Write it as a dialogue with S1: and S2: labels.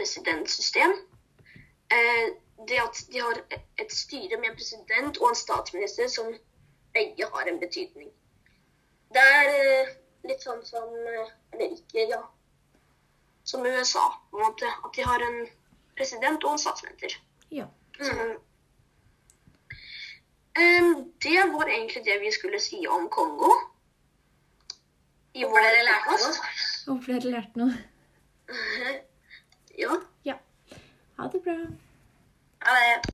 S1: semipresidentsystem. Eh, det at de har et styre med en president og en statsminister som begge har en betydning. Det er eh, litt sånn som eh, Eller ikke, ja. Som USA, på en måte. At de har en president og en statsminister.
S2: Ja.
S1: Mm. Em, Det var egentlig det vi skulle si om Kongo. I
S3: Håper dere lærte noe.
S1: podcast.
S2: Håper dere lærte noe.
S1: Ja.
S2: Ja. Ha det bra.
S3: Ha det.